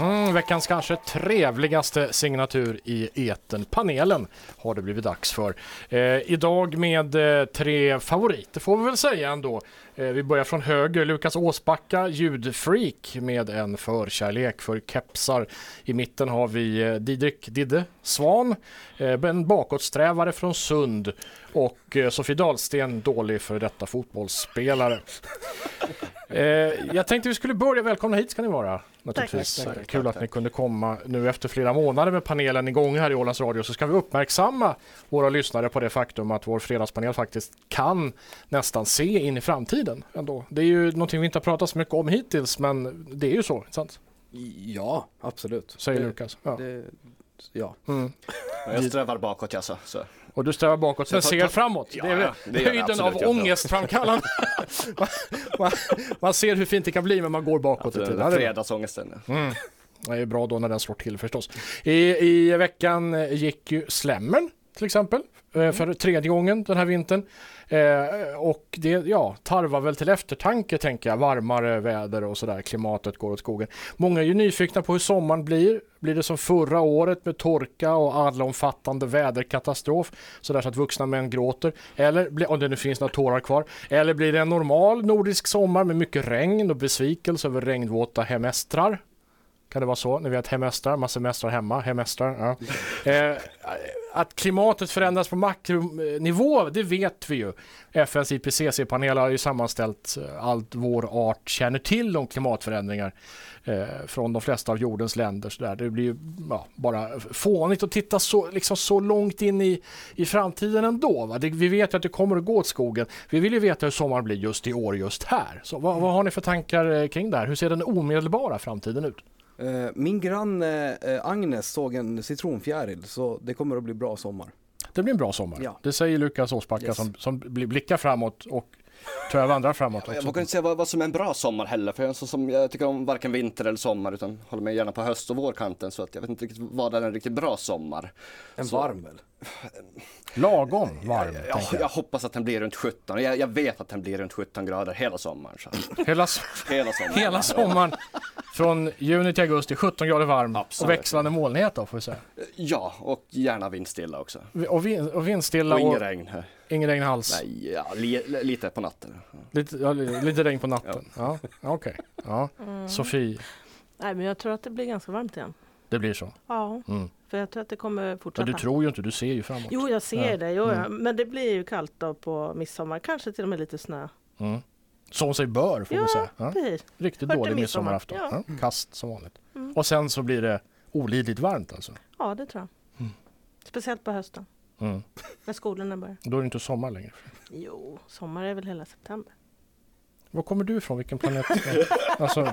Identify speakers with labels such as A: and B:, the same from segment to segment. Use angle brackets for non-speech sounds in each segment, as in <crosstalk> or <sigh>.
A: Mm, veckans kanske trevligaste signatur i eten panelen har det blivit dags för. Eh, idag med eh, tre favoriter får vi väl säga ändå. Eh, vi börjar från höger, Lukas Åsbacka, ljudfreak med en förkärlek för kepsar. I mitten har vi eh, Didrik Didde Svan, eh, en bakåtsträvare från Sund och eh, Sofie Dahlsten, dålig för detta
B: <laughs>
A: fotbollsspelare. Eh, jag tänkte vi skulle börja, välkomna hit ska ni vara. Naturligtvis.
B: Tack, tack,
A: Kul
B: tack,
A: att ni kunde komma nu efter flera månader med panelen igång här i Ålands Radio så ska vi uppmärksamma våra lyssnare på det faktum att vår fredagspanel faktiskt kan nästan se in i framtiden ändå. Det är ju någonting vi inte har pratat så mycket om hittills men det är ju så, inte sant?
B: Ja, absolut.
A: Säger
B: det,
A: Lukas. Ja.
B: Det, ja.
A: Mm.
C: Jag strävar bakåt alltså. Så.
A: Och du strävar bakåt men
C: Jag tar-
A: ser
C: tar-
A: framåt.
C: Ja,
A: det är
C: ja, det gör jag
A: höjden av
C: absolut, ja. <laughs>
A: ångestframkallande. man, man, man ser hur fint det kan bli men man går bakåt i
C: Den
A: tiden.
C: där
A: Det är bra.
C: eh, fredagsångesten.
A: Det är bra då när den slår till förstås. I, i veckan eh, gick ju Slämmen till exempel eh, för tredje gången den här vintern. Eh, Och det ja, tarvar väl till eftertanke tänker jag. Varmare väder och sådär. Klimatet går åt skogen. Många är ju nyfikna på hur sommaren blir. Blir det som förra året med torka och allomfattande väderkatastrof? Sådär så att vuxna män gråter. Eller blir- om det nu finns några tårar kvar. Eller blir det en normal nordisk sommar med mycket regn och besvikelse över regnvåta hemestrar? Kan det vara så? Ni vet hemestrar, man semestrar hemma, hemestrar. Ja. Eh, att klimatet förändras på makronivå, det vet vi ju. FNs IPCC-panel har ju sammanställt eh, allt vår art känner till om klimatförändringar eh, från de flesta av jordens länder. Så där. Det blir ju ja, bara fånigt att titta så, liksom så långt in i, i framtiden ändå. Va? Det, vi vet ju att det kommer att gå åt skogen. Vi vill ju veta hur sommaren blir just i år, just här. Så vad, vad har ni för tankar eh, kring det här? Hur ser den omedelbara framtiden ut?
B: Eh, Min granne eh, Agnes såg en citronfjäril så det kommer att bli bra sommar.
A: Det blir en bra sommar.
B: Ja.
A: Det säger Lukas Åsbacka
B: Yes.
A: som, som bli- blickar framåt och tror jag vandrar framåt
C: Jag
A: också.
C: vågar inte säga vad, vad som är en bra sommar heller, för jag, är en sån som, jag tycker om varken vinter eller sommar, utan håller mig gärna på höst och vårkanten, så att jag vet inte riktigt vad det är en riktigt bra sommar.
B: En
C: Så-
B: varm väl?
A: Lagom varm,
C: Jag,
A: tänker
C: jag hoppas att den blir runt 17, jag, jag vet att den blir runt 17 grader hela
A: <laughs>
C: sommaren. Så. att-
A: jag. Hela, so-
C: Hela sommaren.
A: hela sommaren från juni till augusti, 17 grader varm
C: Absolut.
A: och växlande molnighet då får vi säga.
C: Ja, och gärna vindstilla också.
A: Vi- Och, vin, och vindstilla
C: Och
A: och,
C: inget regn. här.
A: ingen regn alls.
C: Nej, ja, li, li- lite på natten.
A: Lite, ja, li- lite regn på natten. Ja. Okej, ja. Sofie,
D: Nej, men jag tror att det blir ganska varmt igen.
A: det blir så.
D: Ja,
A: Mm.
D: för jag tror att det kommer
A: Men
D: fortsätta.
A: du tror ju inte, du ser ju framåt.
D: Jo, jag ser
A: Ja. Mm.
D: det. Jo, ja. Men det blir ju kallt då på midsommar. Kanske till och med lite snö.
A: Mm. Som sig bör får vi
D: Ja,
A: säga. Ja.
D: Precis.
A: Riktigt
D: Hört till
A: dålig
D: midsommar.
A: midsommarafton.
D: Ja.
A: Ja. Kast som vanligt. Och sen så blir det olidligt varmt alltså.
D: Ja, det tror jag. Speciellt på hösten.
A: Mm.
D: När skolorna börjar.
A: Då är det inte sommar längre.
D: Jo, sommar är väl hela september.
A: Var kommer du ifrån? Vilken planet? alltså,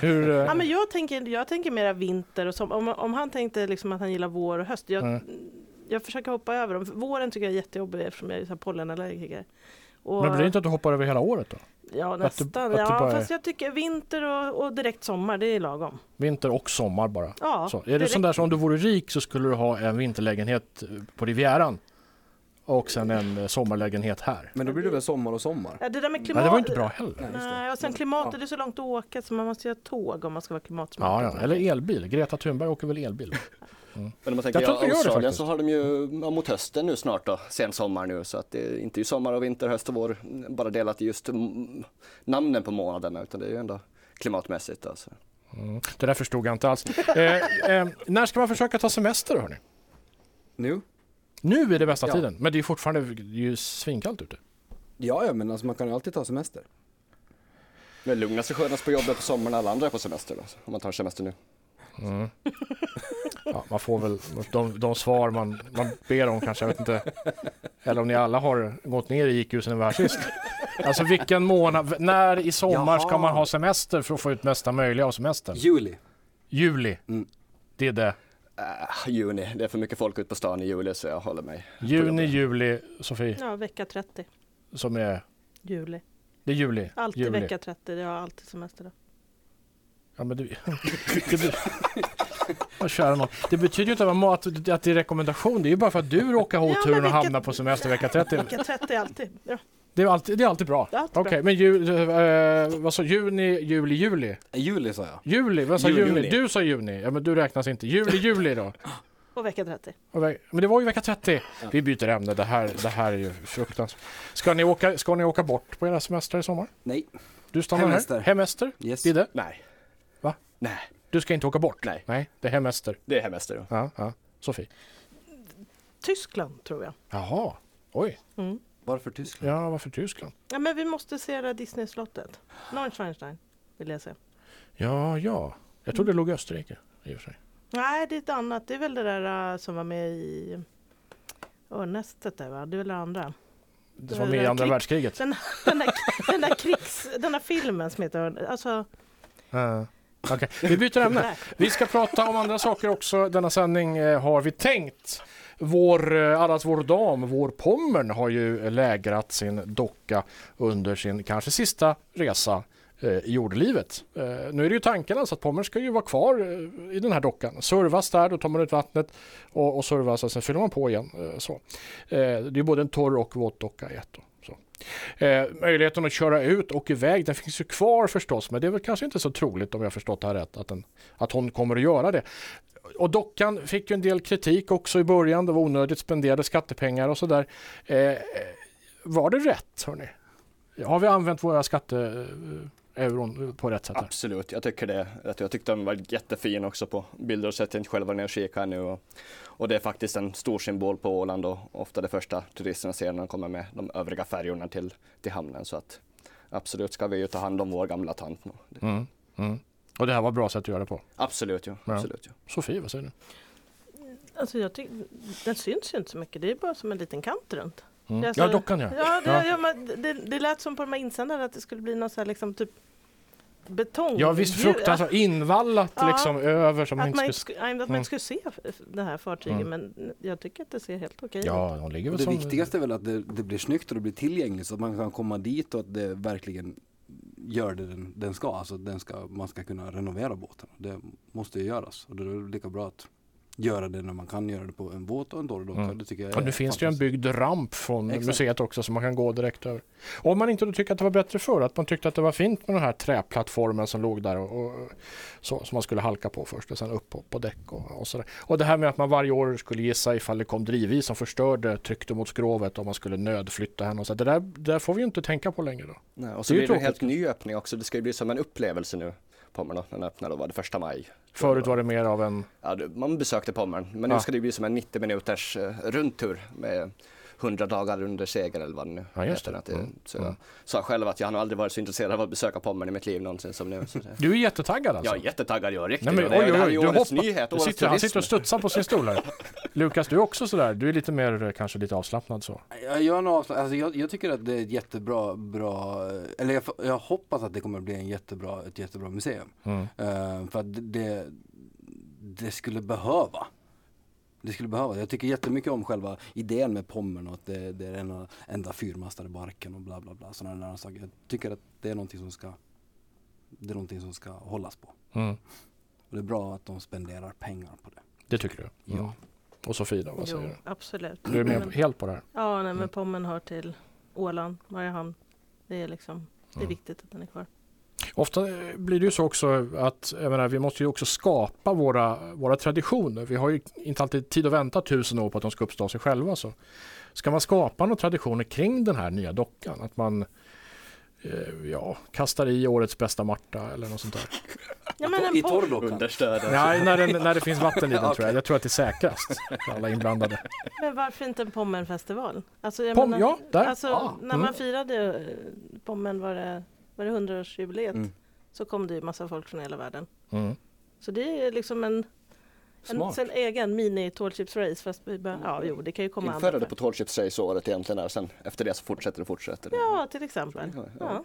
A: hur... eh,
D: Ja, men jag, tänker, jag tänker mera vinter och sommar. Om, om han tänkte liksom att han gillar vår och höst.
A: Mm. eh,
D: Jag, jag försöker hoppa över dem. Våren tycker jag är jättejobbig eftersom jag är så här pollenallergiker. Och-
A: men blir det inte att du hoppar över hela året då?
D: Ja,
A: Att du-
D: nästan.
A: att du
D: ja,
A: bara-
D: Fast jag tycker vinter och, och direkt sommar, det är lagom.
A: Vinter och sommar bara.
D: Ja,
A: så. Är det
D: direkt.
A: sån där som om du vore rik så skulle du ha en vinterlägenhet eh, på Rivieran och sen en eh, sommarlägenhet här?
B: Men då blir det väl sommar och sommar?
D: Ja, det där med
A: Nej,
D: klimat...
A: det var inte bra heller.
B: just det.
D: Nej, och sen klimatet, det är så långt att åka så man måste göra tåg om man ska vara
A: Ja,
D: klimatsmart.
A: ja. Eller elbil. Greta Thunberg åker väl elbil?
C: Men om man tänker
A: Jag tror att de gör det
C: Australien
A: faktiskt.
C: så har de ju ja, mot hösten nu snart då, sen sommar nu. Så att det är inte ju sommar och vinter, höst och vår, bara delat i just mm, namnen på månaderna, utan det är ju ändå klimatmässigt. Alltså.
A: Mm. Det där förstod jag inte alls.
D: <laughs>
A: Eh, eh, när ska man försöka ta semester hörni?
B: Nu?
A: Nu är det bästa
B: Ja.
A: tiden, men det är fortfarande det är ju svinkallt ute.
B: Ja, ja, men alltså, man kan ju alltid ta semester.
C: Men lugnast och skönast på jobbet på sommaren, alla andra är på semester då, om man tar semester nu.
A: Ja, man får väl de, de svar man, man ber om kanske, jag vet inte. Eller om ni alla har gått ner i IQ sen vi var här sist. Alltså vilken månad, v- när i sommar ska
B: Jaha.
A: man ha semester för att få ut mesta möjliga av semestern?
B: Juli.
A: Juli,
B: Mm.
A: det är det.
C: Ah, juni, det är för mycket folk ute på stan i juli så jag håller mig.
A: Juni, juli, Sofie,
D: Ja, vecka 30,
A: som är,
D: juli.
A: det är juli.
D: Alltid
A: juli.
D: vecka 30, det har alltid semester då.
A: Ja, men du, <laughs> det, blir- Åh, kära nån. Det betyder ju inte att, man- att, att det är rekommendation. Det är ju bara för att du råkar ha
D: Ja, men
A: oturen och
D: vilket-
A: hamna på semester vecka 30.
D: Vecka 30 alltid. Ja,
A: Det är alltid, det är alltid bra.
D: det är alltid
A: Okej, men ju, eh, vad sa juni, juli, juli?
B: Juli sa jag.
A: Juli, vad sa
B: Juli,
A: juni?
B: juni.
A: Du sa juni. Ja, men du räknas inte. Juli, juli då?
D: bra. Och vecka 30.
A: Och ve- Men det var ju vecka 30. Vi byter ämne. Det här, det här är ju fruktansvärt. Ska ni, åka, ska ni åka bort på era semester i sommar?
C: Nej.
A: Du stannar
B: Hemester.
A: här? Hemester?
B: Yes.
A: Didde?
C: Nej.
A: Va?
C: Nej,
A: Du ska inte åka bort?
C: Nej.
A: Nej, det är hemester.
C: det är hemester. då.
A: Ja, ja. Sofie?
D: Tyskland tror jag.
A: Jaha. Oj.
D: Mm.
B: Varför Tyskland?
A: Ja, varför Tyskland?
D: Ja, men vi måste se det där Disney-slottet. Neuschwanstein vill jag se.
A: Ja, ja. Jag trodde det låg i Österrike. I och för sig.
D: Nej, det är ett annat. Det är väl det där äh, som var med i Örnnästet där va? Det är väl det andra.
A: Det var
D: Det
A: med i
D: där
A: andra
D: klipp-
A: världskriget.
D: Den, den, där, den, där krigs, den där filmen som heter Örn... Alltså,
A: Ja. Okej, vi byter ämne.
D: nej.
A: Vi ska prata om andra saker också. Denna sändning eh, har vi tänkt. Vår, eh, allas vår dam, vår Pommern, har ju lägrat sin docka under sin kanske sista resa eh, i jordelivet. Eh, nu är det ju tanken alltså att Pommern ska ju vara kvar eh, i den här dockan. Servas där, då tar man ut vattnet och, och servas och sen fyller man på igen. Eh, så. Eh, det är ju både en torr och våt docka i ett. Då, så. Eh, möjligheten att köra ut och iväg, den finns ju kvar förstås, men det är väl kanske inte så troligt om jag har förstått det här rätt, att den att hon kommer att göra det. Och dockan fick ju en del kritik också i början. Det var onödigt spenderade skattepengar och sådär. Eh, var det rätt, hörni? Har vi använt våra skatteeuron på rätt sätt? här?
C: Absolut, jag tycker det. Att Jag tyckte den var jättefin också på bilder och sätt jag inte själv var nere och kikade nu. Och, och det är faktiskt en stor symbol på Åland och ofta det första turisterna ser när de kommer med de övriga färjorna till, till hamnen. Så att absolut ska vi ju ta hand om vår gamla tant. nu. Det-
A: Mm, mm. Och det här var bra sätt att göra det på.
C: Absolut ju.
A: Ja.
C: Absolut, ju.
A: Sofie, vad säger du?
D: Alltså jag tyck, den syns ju inte så mycket. Det är bara som en liten kant runt.
A: Mm.
D: Jag
A: ja,
D: sa-
A: dockan ja.
D: Ja, det,
A: Ja.
D: ja. men det, det lät som på de här insändarna att det skulle bli någon så här liksom typ betong.
A: Ja, visst
D: djur.
A: fruktansvärt invallat
D: Ja.
A: liksom över som
D: Att, att,
A: inte
D: man inte
A: skulle...
D: skulle, nej, att man
A: Mm.
D: inte skulle se f- det här fartyget
A: Mm.
D: men jag tycker att det ser helt okej ut.
A: Ja, de ligger
B: Och
A: väl
B: det
A: som...
B: viktigaste är väl att det, det blir snyggt och det blir tillgängligt så att man kan komma dit och att det verkligen gör det den, den ska. Alltså den ska, man ska kunna renovera båten. Det måste ju göras och det är lika bra att göra det när man kan göra det på en båt och en dålig docka.
A: Mm.
B: Det tycker jag
A: Och
B: är
A: nu finns det ju en
B: fantastiskt.
A: byggd ramp från
B: Exakt.
A: museet också som man kan gå direkt över. Om man inte då tycker att det var bättre förr, att man tyckte att det var fint med den här träplattformen som låg där och, och så, som man skulle halka på först och sen upp på, på däck och, och sådär. Och det här med att man varje år skulle gissa ifall det kom drivis som förstörde, tryckte mot skrovet om man skulle nödflytta henne och så. Det där, det där får vi ju inte tänka på längre då.
C: Nej, och så
A: Det är ju
C: blir det en
A: tråkigt.
C: helt ny öppning också. Det ska ju bli som en upplevelse nu. Pommern då, när den öppnade, var det första maj?
A: Förut var det mer av en...
C: Ja, det- man besökte Pommern, men nu
A: Ja.
C: ska det ju bli som en 90 minuters eh, rundtur med 100 dagar under seger eller vad det nu
A: Ja, just det.
C: Att det
A: Mm.
C: Så
A: Mm.
C: jag sa själv att jag har nog aldrig varit så intresserad av att besöka Pommern i mitt liv någonsin som nu. Så det,
A: Du är jättetaggad alltså?
C: Jag är jättetaggad, jag är riktigt.
A: Nej, men,
C: Och
A: oj,
C: det- det
A: oj,
C: här är
A: oj,
C: ju
A: du
C: årets
A: hoppar.
C: nyhet,
A: Du
C: årets
A: sitter, han sitter och
C: turism.
A: studsar på sin stol <laughs> här. Lukas, du är också sådär. Du är lite mer, eh, kanske lite avslappnad så.
B: Jag, jag, är nog avsla- alltså jag, jag tycker att det är ett jättebra, bra, eller jag, jag hoppas att det kommer att bli en jättebra, ett jättebra museum.
A: Mm.
B: Eh, för att det, det skulle behöva. Det skulle behöva. Jag tycker jättemycket om själva idén med Pommern och att det, det är den enda fyrmastade barken och bla bla bla. Sådana där saker. Jag tycker att det är någonting som ska, det är någonting som ska hållas på.
A: Mm.
B: Och det är bra att de spenderar pengar på det.
A: Det tycker du?
B: Ja.
A: Mm. Och Sofie då, vad säger
D: Jo, Mm.
A: du?
D: absolut.
A: alltså, Du är med
D: Men-
A: helt på det här?
D: Ja, nej,
A: Mm.
D: men Pommern hör till Åland, Mariehamn. Det är liksom, det är
A: Mm.
D: viktigt att den är kvar.
A: Ofta eh, blir det ju så också att jag menar, vi måste ju också skapa våra, våra traditioner. Vi har ju inte alltid tid att vänta tusen år på att de ska uppstå av sig själva. Så. Ska man skapa några traditioner kring den här nya dockan? Att man eh, ja, kastar i årets bästa Marta eller något sånt där.
D: Ja, men
B: I
D: en Pom-
B: torrdockan.
C: Understöd.
A: Nej, när, den, när det finns vatten i den tror jag. Jag tror att det är säkrast för alla inblandade.
D: Men varför inte en Pommernfestival? Alltså, jag
A: Pom-
D: menar,
A: ja, där.
D: Alltså,
A: Ah,
D: när
A: mm.
D: man firade eh, Pommern var det, var det 100-årsjubileet
B: Mm.
D: så kom det ju massa folk från hela världen.
A: Mm.
D: Så det är liksom en, en
B: Smart.
D: sin egen mini tålchips race fast vi bara, ja jo det kan ju komma
C: Inför
D: andra.
C: det på Tall Ships Race året egentligen där, sen efter det så fortsätter det, fortsätter det.
D: Ja till exempel.
C: Ja, ja.
D: Ja.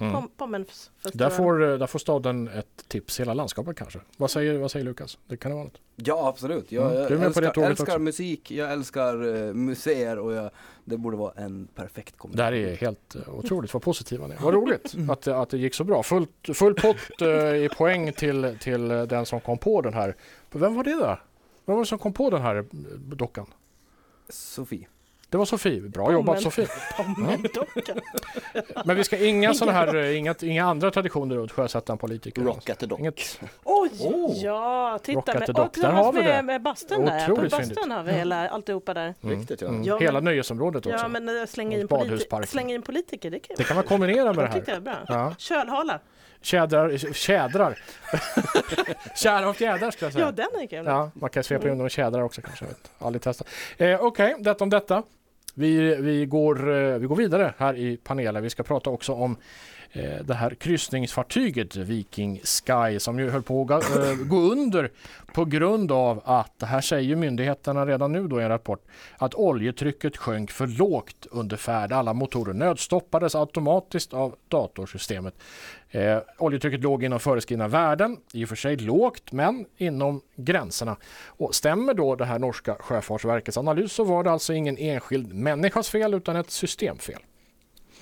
A: Mm.
D: Pom- Pommenfestivalen.
A: Där får, eh, där får staden ett tips, hela landskapet kanske. Vad säger, vad säger Lukas? Det kan det vara något.
B: Ja absolut, jag,
A: Mm. Du är
B: jag
A: med på
B: älskar,
A: det tåget
B: älskar
A: också.
B: musik, jag älskar eh, museer och jag, det borde vara en perfekt
A: Det här
B: kombination.
A: är helt eh, otroligt vad positiva ni är. Vad roligt att, det- att det gick så bra. Fullt, full pott eh, i poäng till, till eh, den som kom på den här. Vem var det då? Vem var det som kom på den här eh, dockan?
B: Sofie.
A: Det var Sofie. Bra jobbat
D: Pommen.
A: Sofie. Mm.
D: Pommendockan.
A: Men vi ska inga sådana här, eh, inga, inga andra traditioner runt sjösätta en politiker.
C: Rockat dock.
A: Inget.
D: Oj!
A: Oh.
D: Ja, titta.
A: Rockat
D: Med,
A: till dock.
D: och
A: Där har
D: tillsammans
A: vi det.
D: med, med bastun där. På
A: Otroligt
D: bastun
A: fyndigt.
D: har vi hela, alltihopa där.
C: Riktigt ja.
A: Mm.
D: Ja, men-
A: Hela nöjesområdet också.
D: Ja, men eh, slänga in,
A: Badhusparken.
D: politi- slänga in politiker, det kan
A: Det
D: ju
A: kan man kombinera med det
D: jag
A: här.
D: tyckte jag var bra.
A: Ja.
D: Kölhala.
A: Tjädrar,
D: <laughs>
A: tjädrar. Tjädrar och fjädrar ska jag säga.
D: Ja, den är kul.
A: Ja, man kan svepa in dem i tjädrar också kanske. Jag vet. Aldrig testat. Eh, Okej, detta om detta. Vi, vi, går, eh, vi går vidare här i panelen. Vi ska prata också om eh, det här kryssningsfartyget Viking Sky som ju höll på att ga- eh, gå under på grund av att, det här säger ju myndigheterna redan nu då i en rapport, att oljetrycket sjönk för lågt under färd. Alla motorer nödstoppades automatiskt av datorsystemet. Eh, oljetrycket låg inom föreskrivna värden, i och för sig lågt, men inom gränserna. Och stämmer då det här norska sjöfartsverkets analys så var det alltså ingen enskild människas fel utan ett systemfel.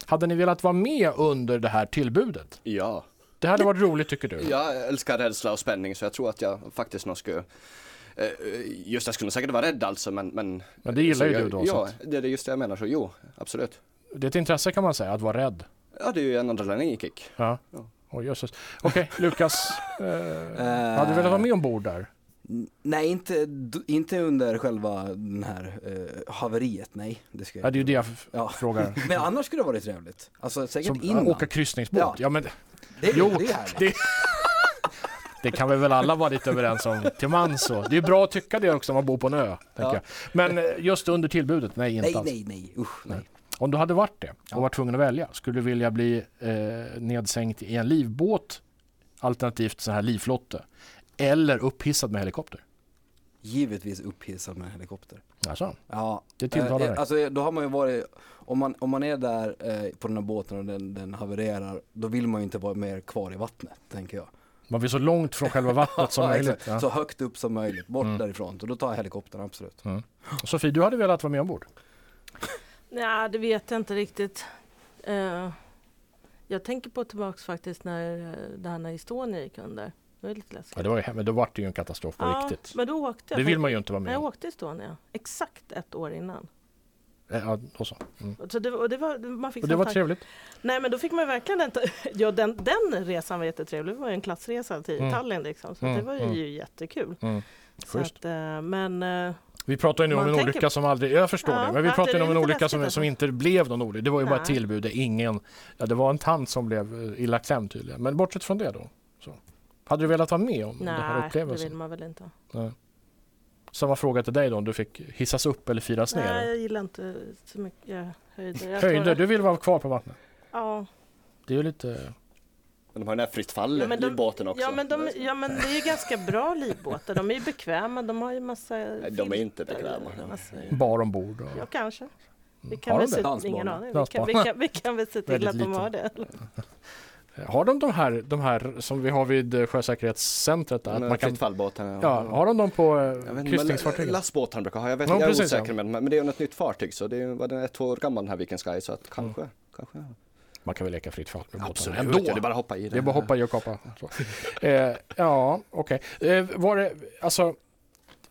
A: Hade ni velat vara med under det här tillbudet?
C: ja.
A: Det hade varit roligt tycker du?
C: Jag älskar rädsla och spänning så jag tror att jag faktiskt nog skulle eh, Just jag skulle säkert vara rädd alltså men Men,
A: Men det gillar
C: så
A: ju
C: jag,
A: du då, så
C: Ja,
A: att-
C: det är just det jag menar så jo, absolut
A: Det är ett intresse kan man säga, att vara rädd.
C: Ja det är ju en adrenalinkick
A: Ja.
C: Ja.
A: Åh, jösses.
C: <laughs>
A: Okej, Lukas. Eh, hade du velat vara med ombord
C: Eh.
A: där?
B: N- Nej, inte, d- inte under själva den här eh, haveriet, nej. Det ska
A: Ja,
B: jag.
A: det är ju det jag f-
C: <laughs>
B: Ja.
A: frågar.
B: Men annars skulle det ha varit trevligt. Alltså säkert
A: Som,
B: innan.
A: åka kryssningsbåt?
B: Ja.
A: Ja, men det-
B: Det,
A: Jo,
B: det är härligt.
A: det, det kan vi väl alla vara lite överens om till mans. så. Det är bra att tycka det också om man bor på en ö. Tänker
B: Ja.
A: jag. Men eh, just under tillbudet, nej inte
B: nej,
A: alls.
B: nej, nej, usch nej.
A: Om du hade varit det och
B: Ja.
A: var tvungen att välja, skulle du vilja bli eh, nedsänkt i en livbåt alternativt sån här livflotte? Eller upphissad med helikopter?
B: Givetvis upphissad med helikopter.
A: Alltså,
B: Ja,
A: Det tilltalar
B: eh,
A: dig.
B: Alltså då har man ju varit, om man, om man är där eh, på den här båten och den, den havererar, då vill man ju inte vara mer kvar i vattnet, tänker jag.
A: man blir så långt från själva vattnet som
B: <laughs> Ja,
A: möjligt.
B: exakt.
A: Ja. Mm.
B: Så högt upp som möjligt, bort därifrån. Så då tar jag helikoptern, absolut.
A: Sofie, du hade velat vara med ombord?
D: Nej, det vet jag inte riktigt. Eh, jag tänker på tillbaks faktiskt när eh, det här när Estonia gick under. Det var lite läskigt.
A: Ja, det var ju, hem- men då var det ju en katastrof på
D: Ja,
A: riktigt.
D: men då åkte jag.
A: Det vill
D: faktiskt-
A: man ju inte vara
D: Nej,
A: med
D: jag
A: om.
D: åkte Estonia exakt ett år innan.
A: Eh, Ja, och så. Mm.
D: Så det, och det var, man fick
A: Och det
D: sån
A: var
D: tanke-
A: trevligt.
D: Nej men då fick man ju verkligen den, <laughs> ja, den, den resan var jättetrevlig. Det var ju en klassresa till
A: Mm.
D: Tallinn liksom. Så
A: Mm,
D: det var ju
A: mm.
D: jättekul.
A: Mm.
D: Så
A: Schysst. Mm,
D: att, eh, men eh,
A: Vi pratar ju nu om
D: Man
A: en
D: tänker-
A: olycka som aldrig, jag förstår
D: Ja,
A: det, men vi
D: att
A: pratar
D: det
A: ju
D: är
A: om en
D: lite
A: olycka som,
D: läskigt
A: som
D: alltså.
A: inte blev någon olycka. Det var ju bara ett
D: Nej.
A: tillbud, där ingen, ja, det var en tant som blev eh, illa klämd tydligen. Men bortsett från det då, så. hade du velat vara med om den här
D: nej, det vill
A: upplevelsen?
D: man väl inte.
A: Samma fråga till dig då, om du fick hissas upp eller firas
D: Nej,
A: ner?
D: jag gillar inte så mycket höjder. Jag klarar-
A: Höjder, du vill vara kvar på vattnet?
D: Ja.
A: Det är ju lite...
C: Men de har den här fritt fall
D: Ja, men de-
C: livbåten också
D: Ja men, de, ja men det är ju ganska bra livbåtar. De är ju bekväma. De har ju massa...
C: Nej, de är inte bekväma.
D: Massa,
A: bar ombord och...
D: ja kanske. Vi
A: Mm. Har
D: kan
A: de
D: väl
A: det?
D: se, ingen
B: Dansbana.
D: aning. Vi kan,
A: Dansbana.
D: vi, kan, vi kan väl se till
A: Väldigt
D: att de har det.
A: Har de de här, de här som vi har vid eh, Sjösäkerhetscentret där? Att man kan...
C: Eh, Fritt fallbåtarna
A: Ja, har de dem på eh,
C: Jag vet inte, men
A: kryssningsfartygen?
C: Lastbåtarna brukar ha, jag, vet,
A: Ja,
C: jag är
A: precis,
C: osäker
A: ja.
C: med dem, men det är ju ett nytt fartyg så det är ju- var den ett år gammal den här Viking Sky så att kanske,
A: Mm.
C: kanske
A: Man kan väl leka fritt fall med båtarna
C: Absolut, ja, det är bara att hoppa i det
A: Det är bara att hoppa i och kapa. Så. Eh, ja, okej. Eh, var det, alltså,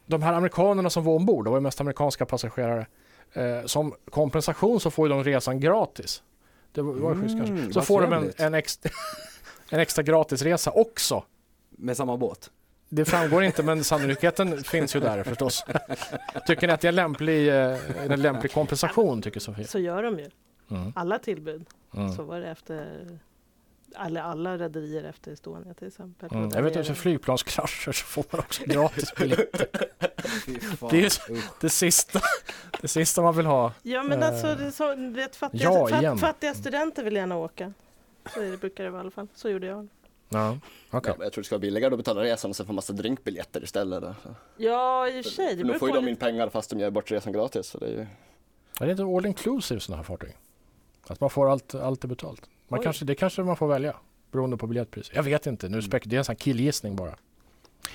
A: de här amerikanerna som var ombord, det var ju mest amerikanska passagerare, eh, som kompensation så får ju de resan gratis. Det var, var ju schysst kanske.
B: Mm,
A: Så
B: vad
A: får de en,
B: trevligt.
A: en, extra, <laughs> en extra gratisresa också.
B: Med samma båt.
A: Det framgår inte, men sannolikheten finns ju där förstås. Tycker ni att det är en lämplig, eh, en lämplig kompensation, tycker Sofia?
D: Så gör de ju.
A: Mm.
D: Alla tillbud.
A: Mm.
D: Så var det efter... Alla, alla rederier efter Estonia till exempel.
A: Mm.
D: Och där
A: Jag vet
D: är
A: att för
D: det-
A: flygplanskrascher så får man
D: <laughs>
A: också gratis biljett. <laughs>
B: Fy fan,
A: Det är ju så-
B: usch.
A: Det sista, <laughs> det sista man vill ha.
D: Ja men
A: Eh,
D: alltså, det är så, du vet, fattiga,
A: ja, igen.
D: fatt, fattiga studenter vill gärna åka. Så är det, brukar det vara i alla fall. Så gjorde jag.
A: Ja, okej.
C: Ja, men jag tror det ska vara billigare att betala resan och sen få massa drinkbiljetter istället. Då.
D: Ja i och för sig. Det
C: Nu
D: beror
C: får
D: på
C: ju de
D: lite-
C: in pengar fast de ger bort resan gratis. Så det är ju...
A: Är det inte all inclusive sådana här fartyg? Att man får allt, allt är betalt? Man
D: Oj.
A: kanske, det kanske man får välja beroende på biljettpris. Jag vet inte, nu spek- det är en sån här killgissning bara.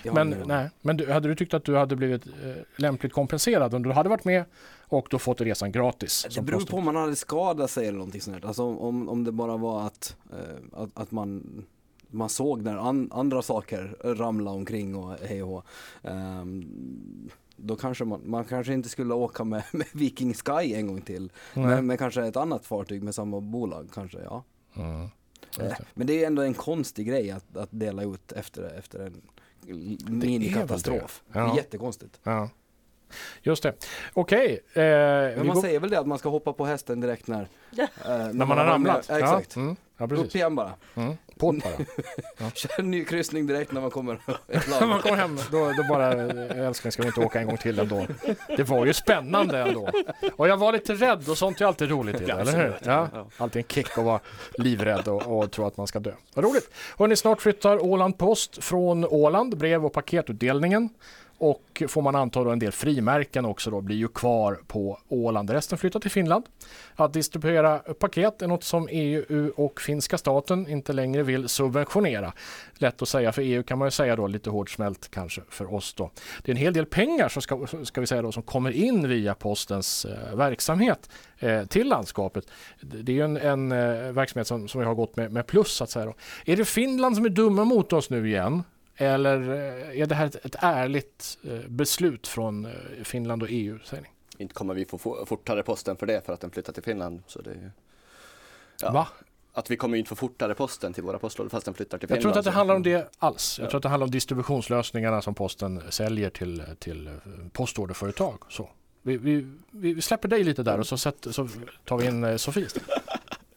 B: Jag har
A: Men,
B: ingen aning.
A: nej, men du, hade du tyckt att du hade blivit eh, lämpligt kompenserad om du hade varit med och då fått resan gratis?
B: Det
A: som
B: beror
A: påstås?
B: på om man hade skadat sig eller någonting sånt där. Alltså om- om, om det bara var att, eh, att, att man, man såg när an, andra saker ramla omkring och hej och hå. Ehm, Då kanske man, man kanske inte skulle åka med, <laughs> med Viking Sky en gång till.
A: Nej.
B: Men, men kanske ett annat fartyg med samma bolag kanske, ja.
A: Mm.
B: Eh, Men det är ändå en konstig grej att, att dela ut efter, efter en minikatastrof.
A: det.
B: Det
A: Ja.
B: är jättekonstigt.
A: Ja. Just det. Okej. Eh,
B: Men
A: vi
B: man
A: går-
B: säger väl det att man ska hoppa på hästen direkt när,
D: Ja.
B: eh,
A: när man har ramlat.
B: Ja, exakt.
A: Ja, mm. ja
B: Upp
A: precis.
B: igen bara. <laughs>
A: Mm. På bara.
B: Kör en ny kryssning direkt när man kommer
A: När man kommer hem, då, då bara eh, älskling ska vi inte åka en gång till ändå. Det var ju spännande ändå. Och jag var lite rädd och sånt är alltid roligt i det, eller hur? <laughs> Ja. Alltid en kick att vara livrädd och, och tro att man ska dö. Vad roligt! Hörrni, snart flyttar Åland Post från Åland, brev och paketutdelningen. Och får man anta då en del frimärken också då blir ju kvar på Åland. Resten flyttar till Finland. Att distribuera paket är något som EU och finska staten inte längre vill subventionera. Lätt att säga för EU kan man ju säga då, lite hårt smält kanske för oss då. Det är en hel del pengar som, ska, ska vi säga då, som kommer in via postens eh, verksamhet eh, till landskapet. Det det är ju en, en eh, verksamhet som, som vi har gått med, med plus så att säga. Då. Är det Finland som är dumma mot oss nu igen? Eller eh, är det här ett, ett ärligt eh, beslut från eh, Finland och EU? Säger ni?
C: Inte kommer vi få fo- fortare posten för det för att den flyttar till Finland. Så det är ju... Ja.
A: Va?
C: Att vi kommer ju inte få fortare posten till våra postlådor fast den flyttar till
A: Jag
C: Finland.
A: tror inte att det
C: så-
A: handlar om det alls. Jag
C: Ja.
A: tror att det handlar om distributionslösningarna som posten säljer till, till eh, postorderföretag. Så. Vi, vi, vi vi släpper dig lite där och så, sätt, så tar vi in eh,
D: <laughs>
A: Sofie. istället.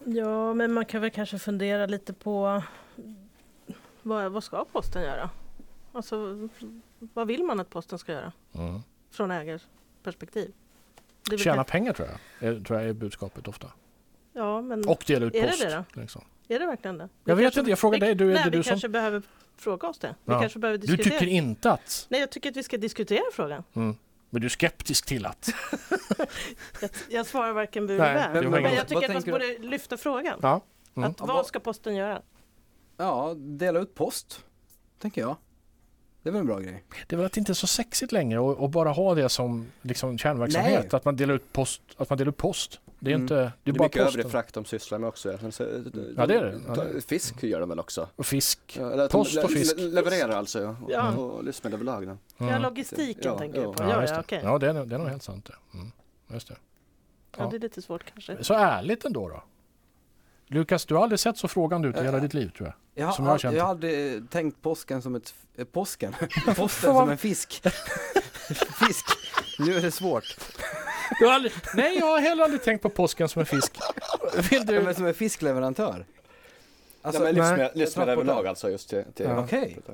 D: Ja, men man kan väl kanske fundera lite på vad, vad ska posten göra? Alltså, vad vill man att posten ska göra från ägarperspektiv? Det
A: Mm.
D: är väl
A: Tjäna
D: kanske-
A: pengar tror jag, är, tror jag är budskapet ofta.
D: Ja, men
A: Och dela ut
D: Är det
A: post.
D: det
A: liksom.
D: är det verkligen det? Vi
A: Jag vet
D: kanske-
A: inte, jag frågar
D: vi-
A: dig. Du, är
D: Nej,
A: det
D: vi
A: du, som,
D: kanske behöver fråga oss det. Vi
A: Ja.
D: kanske behöver
A: du
D: diskutera.
A: tycker inte att,
D: Nej, jag tycker att vi ska diskutera frågan.
A: men du är skeptisk till att.
D: Jag, jag svarar varken bu
A: Nej,
D: eller
A: det
D: bä.
A: var
D: Men
A: inget.
D: jag tycker
B: Vad
D: att man
B: tänker
D: borde lyfta frågan.
A: Ja. Mm.
D: Att,
B: Ja,
D: vad
B: vad-
D: ska posten göra?
B: Ja, dela ut post, tänker jag. Det är väl en bra grej.
A: Det är väl att det inte är så sexigt längre och, och bara ha det som liksom, kärnverksamhet.
B: Nej.
A: Att man delar ut post. Att man delar ut post. Det är ju
B: Mm.
A: inte, det
C: Det
A: är
C: är
A: bara
C: mycket övrig
A: posten.
C: frakt de sysslar med också. egentligen. Så,
A: Ja, det är det. Ja, det är
C: Fisk gör de väl också?
A: Och fisk.
C: Ja, eller att
A: Post
C: de le-
A: och fisk.
C: le- Levererar alltså, ja. Och,
D: Ja.
C: och livsmedelbolag. då.
D: Ja,
A: Mm.
D: logistiken
C: Ja,
D: tänker jag
C: ja.
D: på. Ja,
A: just
D: ja,
A: det.
D: okej.
A: ja det, är, nog- det är nog helt sant. Det. Mm. Just det.
D: ja,
A: ja.
D: det är lite svårt kanske.
A: Så ärligt ändå då. Lukas, du har aldrig sett så frågande ut i hela ditt liv tror jag.
B: Jag, har
A: Som jag har
B: all-
A: känt.
B: jag hade eh, tänkt påsken som ett... f-
A: <laughs>
B: eh, Påsken? <laughs> Posten som en fisk. <laughs> fisk. Nu är
A: <laughs>
B: det svårt.
A: Du har aldrig, nej, jag har heller aldrig tänkt på påsken som en fisk. Vill
B: Ja,
A: du?
B: Men som en fiskleverantör. Alltså,
C: ja, men
A: nej.
C: livsme- livsmedel
B: Jag tappar
C: överlag
B: det.
C: alltså just till... till
A: Ja.
B: Okej.
C: Ja.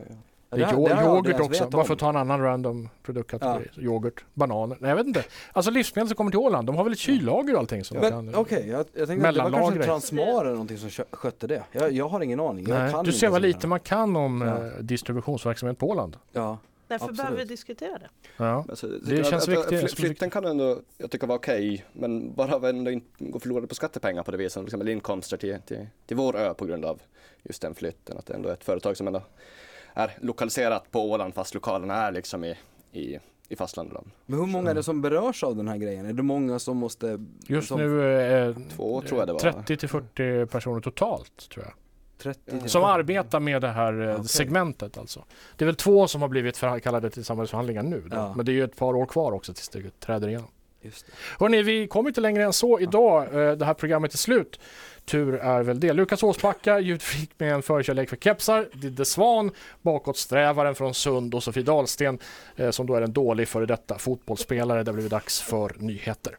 A: Det är
B: här-
A: yo-
B: här har jag aldrig
A: yoghurt
B: ens
A: också,
B: vetat
A: bara för
B: om.
A: att ta en annan random produktkategori. Yoghurt, bananer, nej jag vet inte. Alltså livsmedel som kommer till Åland, de har väl ett kyllager och allting sånt.
B: Men okej, jag, jag tänkte att det var kanske
A: Mellanlagret.
B: en Transmar eller någonting som kö- skötte det. Jag, jag har ingen aning. Jag
A: Nej,
B: kan
A: du
B: inte
A: ser vad
B: sådana här.
A: lite man kan om
B: Ja.
A: eh, distributionsverksamhet på Åland.
B: Ja.
D: Därför
B: absolut.
D: behöver vi diskutera det.
A: Ja.
C: Alltså,
A: Det
C: jag-
A: känns
C: jag- jag-
A: viktigt,
C: fly-
A: som
C: Flytten kan ändå, jag tycker var okej, men bara av ändå inte gå förlorade på skattepengar på det viset, liksom, eller inkomster till, till, till vår ö på grund av just den flytten. Att det ändå är ett företag som ändå är lokaliserat på Åland fast lokalerna är liksom i, i, i fastlandet. då.
B: Men hur många är det som berörs av den här grejen? Är det många som måste...
A: Just
B: som
A: nu eh,
C: Två tror jag det var.
A: 30 till
B: Mm.
A: 40 personer totalt tror jag.
B: 30
A: Som arbetar med det här eh,
B: Okej.
A: segmentet alltså. Det är väl två som har blivit förha- kallade till samarbetsförhandlingar nu. Då.
B: Ja.
A: Men det är ju ett par år kvar också tills det träder igenom.
B: Just det.
A: Hörrni, vi kommer inte längre än så idag. Eh, Det här programmet är slut. Tur är väl det. Lukas Åsbacka, ljudfreak med en förkärlek för kepsar. Didde Svan, bakåtsträvaren från Sund och Sofie Dahlsten eh, som då är en dålig före detta fotbollsspelare. Det blir dags för nyheter.